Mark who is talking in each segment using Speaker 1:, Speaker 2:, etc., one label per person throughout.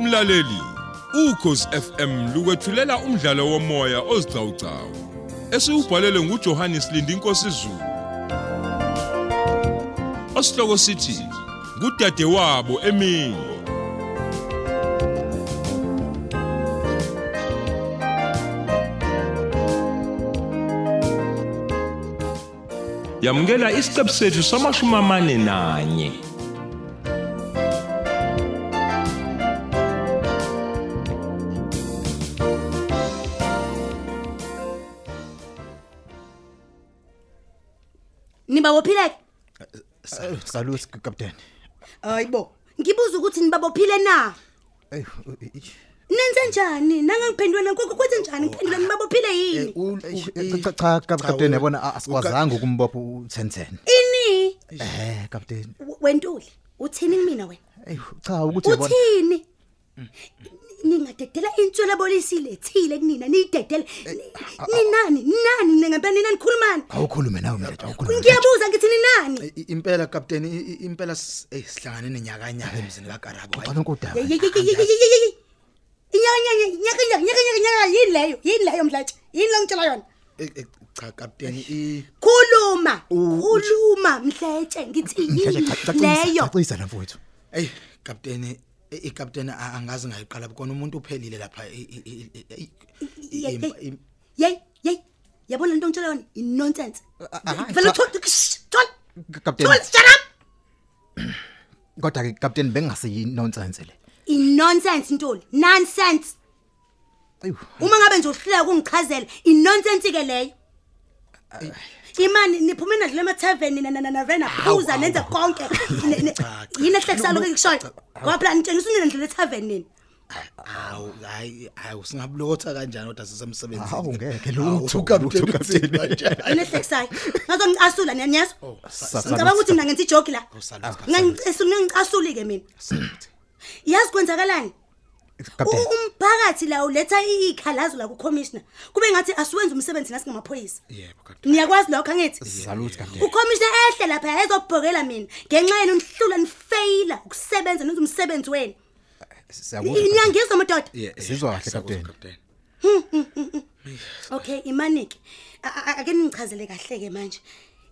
Speaker 1: Mlaleli, ukhosi FM lukwethulela umdlalo womoya ozicawucawu. Esiubhalelwe nguJohannes Lindi Nkosi Zulu. Osihloko sithi kudade wabo emini. Yamukela isiqebu sethu samashumi amane nanye.
Speaker 2: nibabophile
Speaker 3: Salusi captain.
Speaker 2: hayibo ngibuza ukuthi nibabophile na
Speaker 3: Ey,
Speaker 2: nenze njani nangangiphendulana koko kwenze njani ngiphendule nibabophile
Speaker 3: Eh,
Speaker 2: yini
Speaker 3: cha cha captain yabona asikwazanga ukumbopha u1010.
Speaker 2: ini
Speaker 3: Eh captain.
Speaker 2: W- wentuli uthini kumina wena
Speaker 3: Ey, cha ukuthi yabona.
Speaker 2: uthini ningadedela inswela bolisile thile kunina niyidedele Ni- ninani ninani ningempela nina nikhulumani
Speaker 3: Awukhulume nawe manje, awukhulume.
Speaker 2: ngiyabuza ngithi ninani
Speaker 4: I- impela captain i- i- impela s- eh, sihlangane nenyaka nyaka emzini kaGarabo
Speaker 3: Ucala
Speaker 2: Ye-
Speaker 3: unkudaba.
Speaker 2: ye- ye- ye- ye- ye- ye- ye- ye. inyaka nyaka nyaka nyaka nyaka nyaka nyaka yini leyo yini leyo mdlatshi yini lo ngitshela yona
Speaker 4: cha captain i
Speaker 2: khuluma khuluma mhletshe ngithi yini leyo
Speaker 3: Cacisa la mfowethu.
Speaker 4: hey captain i- i captain a- angazi ngayiqala bukona umuntu uphelile lapha i- i- i- i- i- i-
Speaker 2: Ye-
Speaker 4: im- im-
Speaker 2: yey yey yabona lento ngitshela yona i nonsense
Speaker 3: ah,
Speaker 2: vele thola
Speaker 3: ah,
Speaker 2: thola
Speaker 3: Captain.
Speaker 2: thola shut up
Speaker 3: Kodwa ke captain bengasiyini nonsense le.
Speaker 2: i nonsense ntuli nonsense
Speaker 3: Ayu.
Speaker 2: uma ngabe nje uhluleka kungichazela i nonsense ke leyo imani niphume nadlule ema tavern nina nina nina vena phuza nenze konke Ne- ne- yini ehlekisayo ke kushoyo ngoba phela nitshengisa unina ndlule tavern nina
Speaker 4: awu hayi hayi singabulotha kanjani kodwa sisemsebenzini
Speaker 3: Hawu ngeke
Speaker 4: Hawu,
Speaker 3: lutho
Speaker 4: captain
Speaker 3: lutho,
Speaker 4: uthini
Speaker 3: captain.
Speaker 4: manje?
Speaker 2: yini ehlekisayo ngazongiqasula niyanyazo
Speaker 4: Oh.
Speaker 3: sa-
Speaker 2: ngicabanga ukuthi mina ngenza ijoke la
Speaker 4: Awu, salusi,
Speaker 2: ngangicasuli ke mina
Speaker 4: salusi.
Speaker 2: yazi kwenzakalani
Speaker 3: Captain.
Speaker 2: U- umphakathi la uletha i- ikhalazo la kucommissioner kube ngathi asiwenze umsebenzi nasingamaphoyisa
Speaker 4: yebo captain
Speaker 2: niyakwazi lokho angithi
Speaker 3: Salusi captain.
Speaker 2: ucommissioner ehle lapha ezobhokela mina ngenxa yenu nihlula nifeyila ukusebenza nenza umsebenzi wenu
Speaker 3: Siyakuzwa.
Speaker 2: niyangizwa madoda
Speaker 4: Yeah, yeah,
Speaker 3: Sizwa kahle,
Speaker 4: siyakuzwa,
Speaker 3: captain.
Speaker 2: okay imanike A- a- ake ningichazele kahle ke manje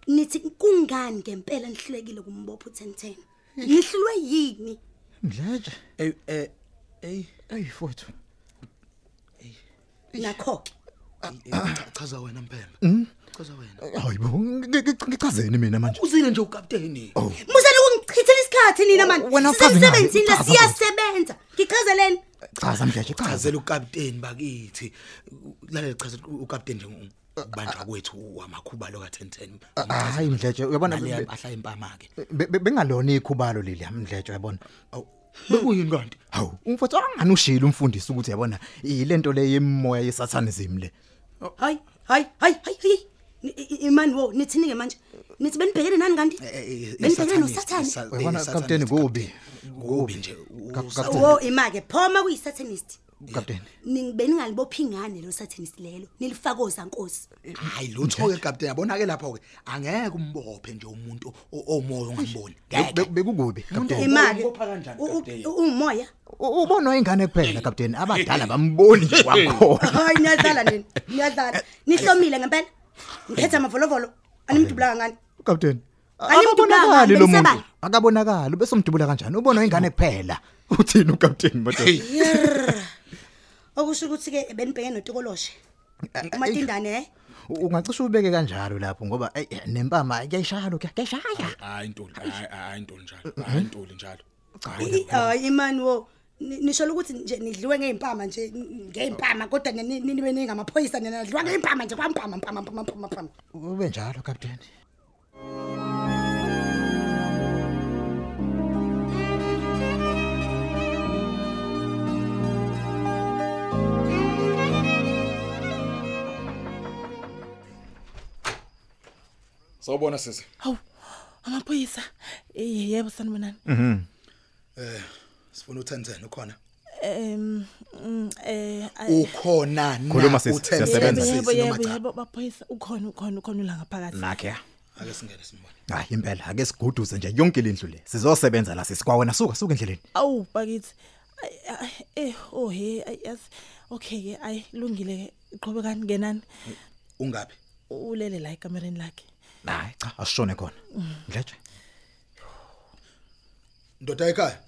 Speaker 2: nithi kungani ngempela nihlulekile kumbopha u1010 nihlulwe yini
Speaker 3: Mdlaje.
Speaker 4: Eh eh ey
Speaker 3: Ey mfowethu.
Speaker 2: nakho ke
Speaker 4: chaza wena mpembe chaza wena
Speaker 3: Hayibo, ngichazeni mina manje.
Speaker 4: uzile nje ucaptain
Speaker 2: musani ukungichithela isikhathi nina mani
Speaker 3: Wena uchaze ngani?
Speaker 2: sisemsebenzini la
Speaker 3: Chaza,
Speaker 2: siyasebenza ngichazeleni
Speaker 3: Chaza mdlaje, chaza.
Speaker 4: chazela ucaptain bakithi lalela chaza ucaptain nje u- ubanjwa kwethu amakhuba lo ka1010
Speaker 3: Hayi mdlaje, uyabona
Speaker 4: nale
Speaker 3: be-
Speaker 4: impahla impama ke
Speaker 3: be- be- bengalona ikhubalo leli mdlaje uyabona.
Speaker 4: awu bekuyini kanti
Speaker 3: Hawu, umfowethu angani ushilo umfundisi ukuthi yabona ilento le yemoya yesathanism le.
Speaker 2: hayi hayi hayi hayi, hayi Ni- i- i- imani wo nithini ke manje nithi benibhekene nani kanti
Speaker 4: Eh,
Speaker 2: benibhekene nosathane
Speaker 3: Uyabona captain kubi.
Speaker 4: kubi nje
Speaker 3: Cap-
Speaker 4: usa-
Speaker 3: captain,
Speaker 2: wo imake phoma kuyisatanist
Speaker 3: captain.
Speaker 2: beningalibophi ngane lo satanist lelo nilifakoza nkosi
Speaker 4: hayi lutho ke captain yabona ke lapho ke angeke umbophe nje umuntu o- omoya ongamboni
Speaker 3: Be- be-
Speaker 4: ngeke
Speaker 3: Bekukubi captain.
Speaker 2: imake
Speaker 4: ubopha kanjani, Captain?
Speaker 2: umoya
Speaker 3: U- Ubonwa ingane kuphela captain, abadala bamboni nje kwakhona.
Speaker 2: hayi niyadlala nini niyadlala nihlomile ngempela ngikhetha amavolovolo animdubulaka ngani
Speaker 3: Captain.
Speaker 2: Alimdubanga,
Speaker 3: akabonakali lo muntu.
Speaker 2: bengisebani?
Speaker 3: Akabonakali, bese umdubula kanjani? Ubonwa ingane kuphela. Uthini ucaptain madodana?
Speaker 2: okusho ukuthi ke benibhekene notokoloshe umatindane eh
Speaker 3: Ungacishe ubeke kanjalo lapho ngoba ey, nempama kuyayishaya lokho, kuyashaya.
Speaker 4: hayi ntuli hayi hayi ntuli njalo hayi ntuli njalo
Speaker 2: I- hayi imani wo ni- nisho ukuthi nje nidliwe ngeimpama nje n- ngeimpama kodwa ni- ni- nibe ningamaphoyisa nina nadliwa ngeimpama nje kwampama mpama mpama mpama mpama
Speaker 3: Ube njalo captain.
Speaker 4: sawubona sisi
Speaker 5: Hawu. Amaphoyisa. Eh yebo sanibonani.
Speaker 4: eh sifuna u1010 ukhona
Speaker 5: Em mm, eh ay-
Speaker 4: ukhona na
Speaker 3: Khuluma sisi,
Speaker 4: u-1010?
Speaker 3: siyasebenza.
Speaker 4: Oh, Sisi
Speaker 5: yebo
Speaker 4: noma
Speaker 5: yebo
Speaker 4: cha? Mm.
Speaker 5: yebo baphoyisa ukhona ukhona ukhona la ngaphakathi.
Speaker 3: Nakhe.
Speaker 4: ake singene simbone
Speaker 3: Hayi impela ake siguduze nje yonke indlu le. Sizosebenza la sisi kwa wena suka suka endleleni.
Speaker 5: Awu bakithi. Ay, ay, eh oh he ay, yazi okay ke ay lungile iqhubekani ngenani
Speaker 4: ungaphi
Speaker 5: ulele la ekamereni lakhe
Speaker 3: hayi cha asishone khona mdletshe
Speaker 4: ndoda ekhaya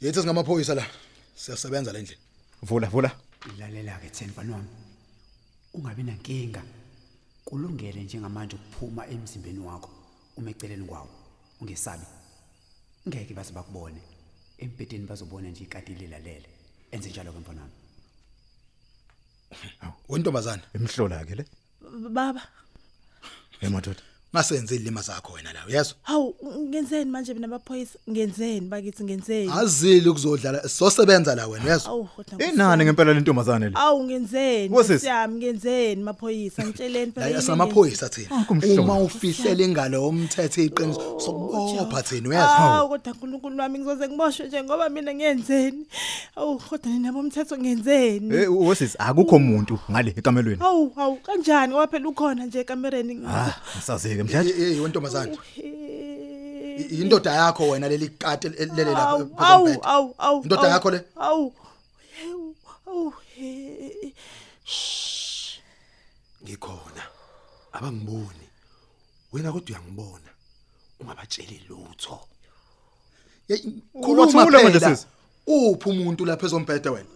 Speaker 4: yethu singamaphoyisa la siyasebenza le ndlela
Speaker 3: vula vula
Speaker 6: lalela ke Themba noma ungabe nankinga kulungele njengamanje ukuphuma emzimbeni wakho uma eceleni kwawo ungesabi ngeke base bakubone empedeni bazobona nje ikadile lalele enze njalo ke mfana wami
Speaker 4: wentombazana
Speaker 3: imhlola ke le
Speaker 5: B- baba
Speaker 3: emadoda
Speaker 4: ngasenze ilima zakho wena la uyezwa
Speaker 5: hawu ngenzeni manje mina baphoyisa ngenzeni bakithi ngenzeni
Speaker 4: azili ukuzodlala sizosebenza la wena uyezwa
Speaker 5: awu kodwa
Speaker 3: inani ngempela le ntombazane le
Speaker 5: awu ngenzeni
Speaker 3: Wesisi.
Speaker 5: siyami ngenzeni maphoyisa ngitsheleni phela
Speaker 4: la
Speaker 5: yini
Speaker 4: asamaphoyisa thina
Speaker 3: kumhlobo.
Speaker 4: uma ufihlela ingalo umthethe iqiniso sokubopha thina uyezwa
Speaker 5: Hawu kodwa uNkulunkulu wami ngizoze ngiboshwe nje ngoba mina ngiyenzeni. Awu kodwa nina bomthetho ngiyenzeni.
Speaker 3: eh wesisi akukho umuntu ngale ekamelweni
Speaker 5: Hawu hawu kanjani ngoba phela ukhona nje ekamereni.
Speaker 3: ah ngisazike mdletshe
Speaker 4: hey wentombazana
Speaker 5: Eh.
Speaker 4: i- indoda yakho wena leli kati lele lapha
Speaker 5: Awu, Awu
Speaker 4: phezu
Speaker 5: awu awu.
Speaker 4: Indoda
Speaker 5: awu,
Speaker 4: yakho le?
Speaker 5: Awu. Yewu, Awu. eh. Shh.
Speaker 7: ngikhona abangiboni wena kodwa uyangibona ungabatsheli lutho
Speaker 4: khuluma
Speaker 3: Wathula manje
Speaker 4: phela
Speaker 3: sisi.
Speaker 4: uphi umuntu lapha ezombhede wena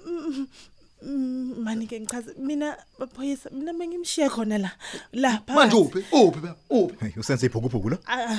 Speaker 5: Mm, Mani ke ngichaze mina baphoyisa mina bengimshiye khona la. La phakathi.
Speaker 4: manje uphi uphi baba uphi
Speaker 3: hey usenze iphukuphuku la
Speaker 5: Ah,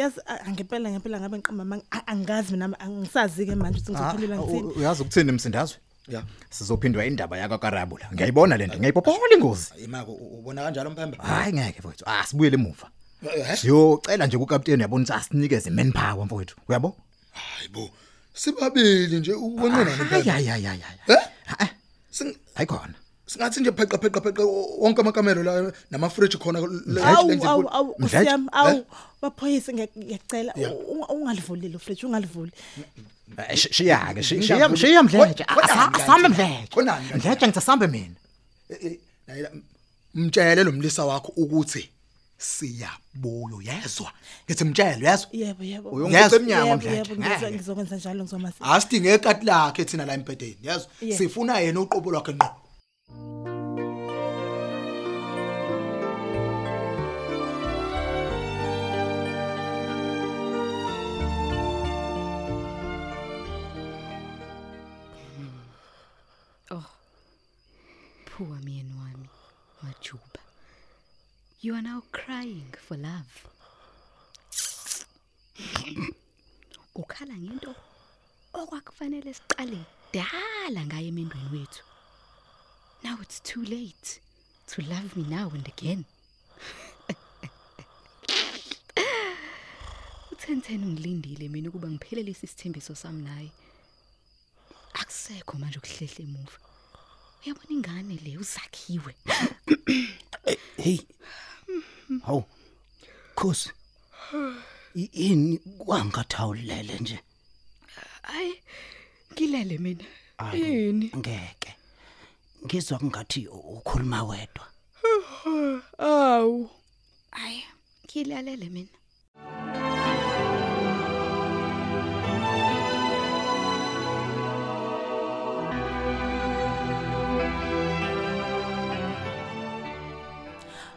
Speaker 5: yazi ah, ngempela ngempela ngabe ngiqamba manga angazi mina ma- angisazi ke manje ukuthi
Speaker 4: Ah,
Speaker 5: ngizophendula ngithini
Speaker 3: Ah, uyazi ukuthini msindazwe
Speaker 4: ya
Speaker 3: sizophindwa indaba yakakarabu la ngiyayibona lento ngiyayibhobola ingozi
Speaker 4: imako ubona kanjalo mphembe
Speaker 3: hayi ngeke mfowethu asibuyele emuva
Speaker 4: Eh,
Speaker 3: siyocela nje kukapteni yabona ukuthi asinikeze manpower mfowethu uyabo
Speaker 4: hayibo sibabili nje uwenqena
Speaker 3: hayi
Speaker 4: mphembe
Speaker 3: hayi hayi hayi
Speaker 4: Eh?
Speaker 3: hayi
Speaker 4: Sing-
Speaker 3: ayikhona
Speaker 4: singathi nje pheqa pheqa pheqa wonke amakamelo la nama fridge khona le-
Speaker 5: awu
Speaker 4: le-
Speaker 5: awu awu
Speaker 3: Mdletshe?
Speaker 5: usiyami awu baphoyisa ngiya- ngiyacela
Speaker 4: Ya.
Speaker 5: u- ungalivulile ufridge ungalivuli
Speaker 3: Eh, shi- shiya ke shi- shiya
Speaker 4: Ngidla-
Speaker 3: shiya mdletshe
Speaker 4: Kodwa- kodwa
Speaker 3: Asa- asambe
Speaker 4: mdletshe.
Speaker 3: mdletshe
Speaker 4: Konani kanti?
Speaker 3: mdletshe ngisasambe mina
Speaker 4: Eh, eh, la- mtshele lo mlisa wakho ukuthi siyabuyo yezwa ngithi mtshele uyezwa
Speaker 5: yebo yebo
Speaker 3: uyongicoca emnyango
Speaker 5: Yebo,
Speaker 3: mdletshe
Speaker 5: yebo, ngizo-
Speaker 3: Ngeke.
Speaker 5: ngizokwenza njalo ngizomasiza
Speaker 4: asidinge ekati lakhe thina la empedeni yezwa
Speaker 5: Yeah.
Speaker 4: sifuna yena uqobo lwakhe ngqo
Speaker 8: Oh. Poor me and Wami, Majuba. You are now crying for love. Ukhala ngento okwakufanele siqale dala ngaye emendweni wethu. Now it's too late to love me now and again. Uthentheni ungilindile mina ukuba ngiphelelise isithembiso sami naye. Akusekho manje ukuhlehla emuva. uyabona ingane le uzakhiwe
Speaker 9: hey hawu khosi i- ini kwangathawulele nje
Speaker 8: hayi ngilele mina yini
Speaker 9: ngeke ngizwa kungathi u- ukhuluma wedwa
Speaker 8: awu hayi ngilalele mina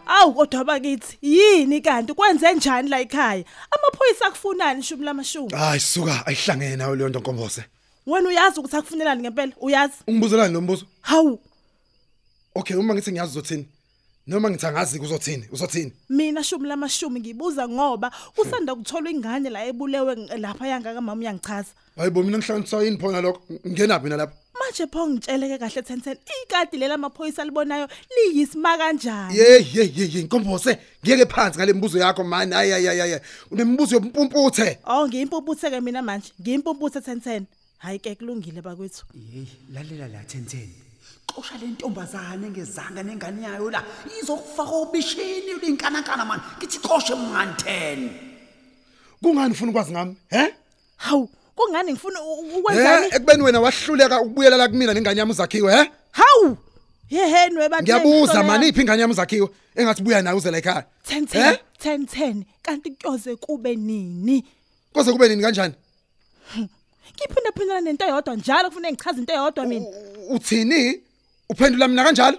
Speaker 5: awu kodwa bakithi yini kanti kwenze njani la ekhaya amaphoyisa akufunani shumi lamashumi
Speaker 7: hayi suka ayihlangene nawe leyo nto nkombose
Speaker 5: wena uyazi ukuthi akufunelani ngempela uyazi
Speaker 7: ungibuzelani lo mbuzo
Speaker 5: hawu
Speaker 7: okay uma ngithi ngiyazi uzothini noma ngithi angazi uzothini uzothini
Speaker 5: mina shumi lamashumi ngibuza ngoba kusanda kutholwa ingane la ebulewe ng- lapha yangaka mama uyangichaza
Speaker 7: hayibo mina ngihlanganiswa yini phona lokho ngingenabi mina lapho
Speaker 5: manje pho ngitsheleke kahle Tencent ikadi lela maphoyisa libonayo liyisima kanjani
Speaker 7: yeyi yeyi yeyi nkombose ngiyeke phansi ngale mbuzo yakho mani hayi hayi hayi hayi unembuzo yobumpumputhe
Speaker 5: oh ngiyimpumputhe-ke mina manje ngiyimpumputhe Tencent hayi ke kulungile bakwethu
Speaker 6: hey lalela la Themtheni xosha lentombazane ngezanga nengane yayo la izokufaka obishini ulinkanankana man ngithi xoshe mngani
Speaker 7: kungani
Speaker 6: 10
Speaker 7: ufuna ukwazi ngami he
Speaker 5: hawu kungani ngifuna u- u-
Speaker 3: Eh,
Speaker 7: he
Speaker 5: ukwenzani
Speaker 7: Eh, ekubeni wena wahluleka ukubuyela la kumina nengane yami uzakhiwe he
Speaker 5: hawu yeheni webantu
Speaker 7: ngiyabuza mani iphi ingane yami uzakhiwe engathi buya nayo uzela ekhaya
Speaker 3: Eh?
Speaker 5: Tencent Tencent kanti kuyoze kube nini
Speaker 7: koze kube nini kanjani
Speaker 5: Ngiphinde phindana nento eyodwa njalo kufuna ngichaze into eyodwa mina.
Speaker 3: U- Uthini? Uphendula mina kanjalo?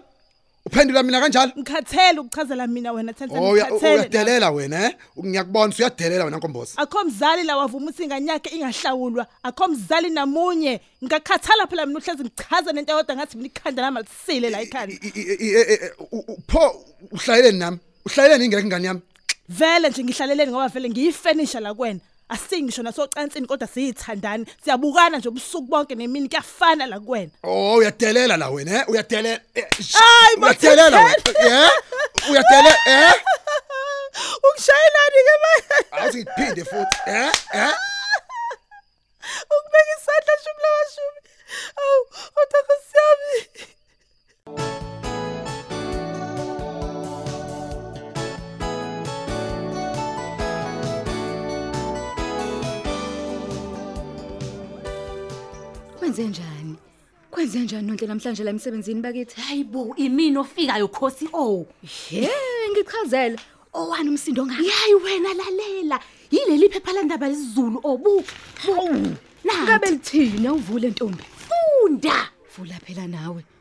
Speaker 3: Uphendula mina kanjalo?
Speaker 5: Ngikhathele ukuchazela mina wena Themba
Speaker 3: Oh uya-
Speaker 5: ngikhathele.
Speaker 3: uyadelela wena eh? Ngiyakubona uyadelela wena Nkombozi.
Speaker 5: Akho mzali la wavuma ukuthi ingane yakhe ingahlawulwa. Akho mzali namunye. Ngikakhathala phela mina uhlezi ngichaza nento eyodwa ngathi mina ikhanda lami alisile la ikhanda.
Speaker 3: I- i- i- e- e- u- u- Pho uhlayeleni nami? Uhlayeleni ingane ingane yami?
Speaker 5: Vele nje ngihlaleleni ngoba vele ngiyifurnisher la kwena. Asingisho nasocansini kodwa siyithandani. Siyabukana nje ubusuku bonke nemini kuyafana la kuwena.
Speaker 3: Oh uyadelela la wena eh? Uyadelela. eh, sh-
Speaker 5: Ay,
Speaker 3: uyadelela
Speaker 5: Mathethele.
Speaker 3: wena. Eh? Uyadelela eh?
Speaker 5: Ungishayelani ke Ah, manje?
Speaker 3: Awuthi ngiphinde futhi. Eh? Eh?
Speaker 5: Ukubeka isandla shumi la mashumi. Awu, uthoko siyami.
Speaker 8: Kwenze njani? Kwenze njani nonke namhlanje la emsebenzini bakithi?
Speaker 10: Hayibo, imini ofikayo Khosi o.
Speaker 8: Oh, He, ngichazela. Owani umsindo ngani?
Speaker 10: Yayi wena lalela. Yileli phepha landaba lesiZulu
Speaker 8: Oh,
Speaker 10: obu. Hawu.
Speaker 8: Ngabe lithini uvule ntombi?
Speaker 10: Nafunda.
Speaker 8: Vula phela nawe.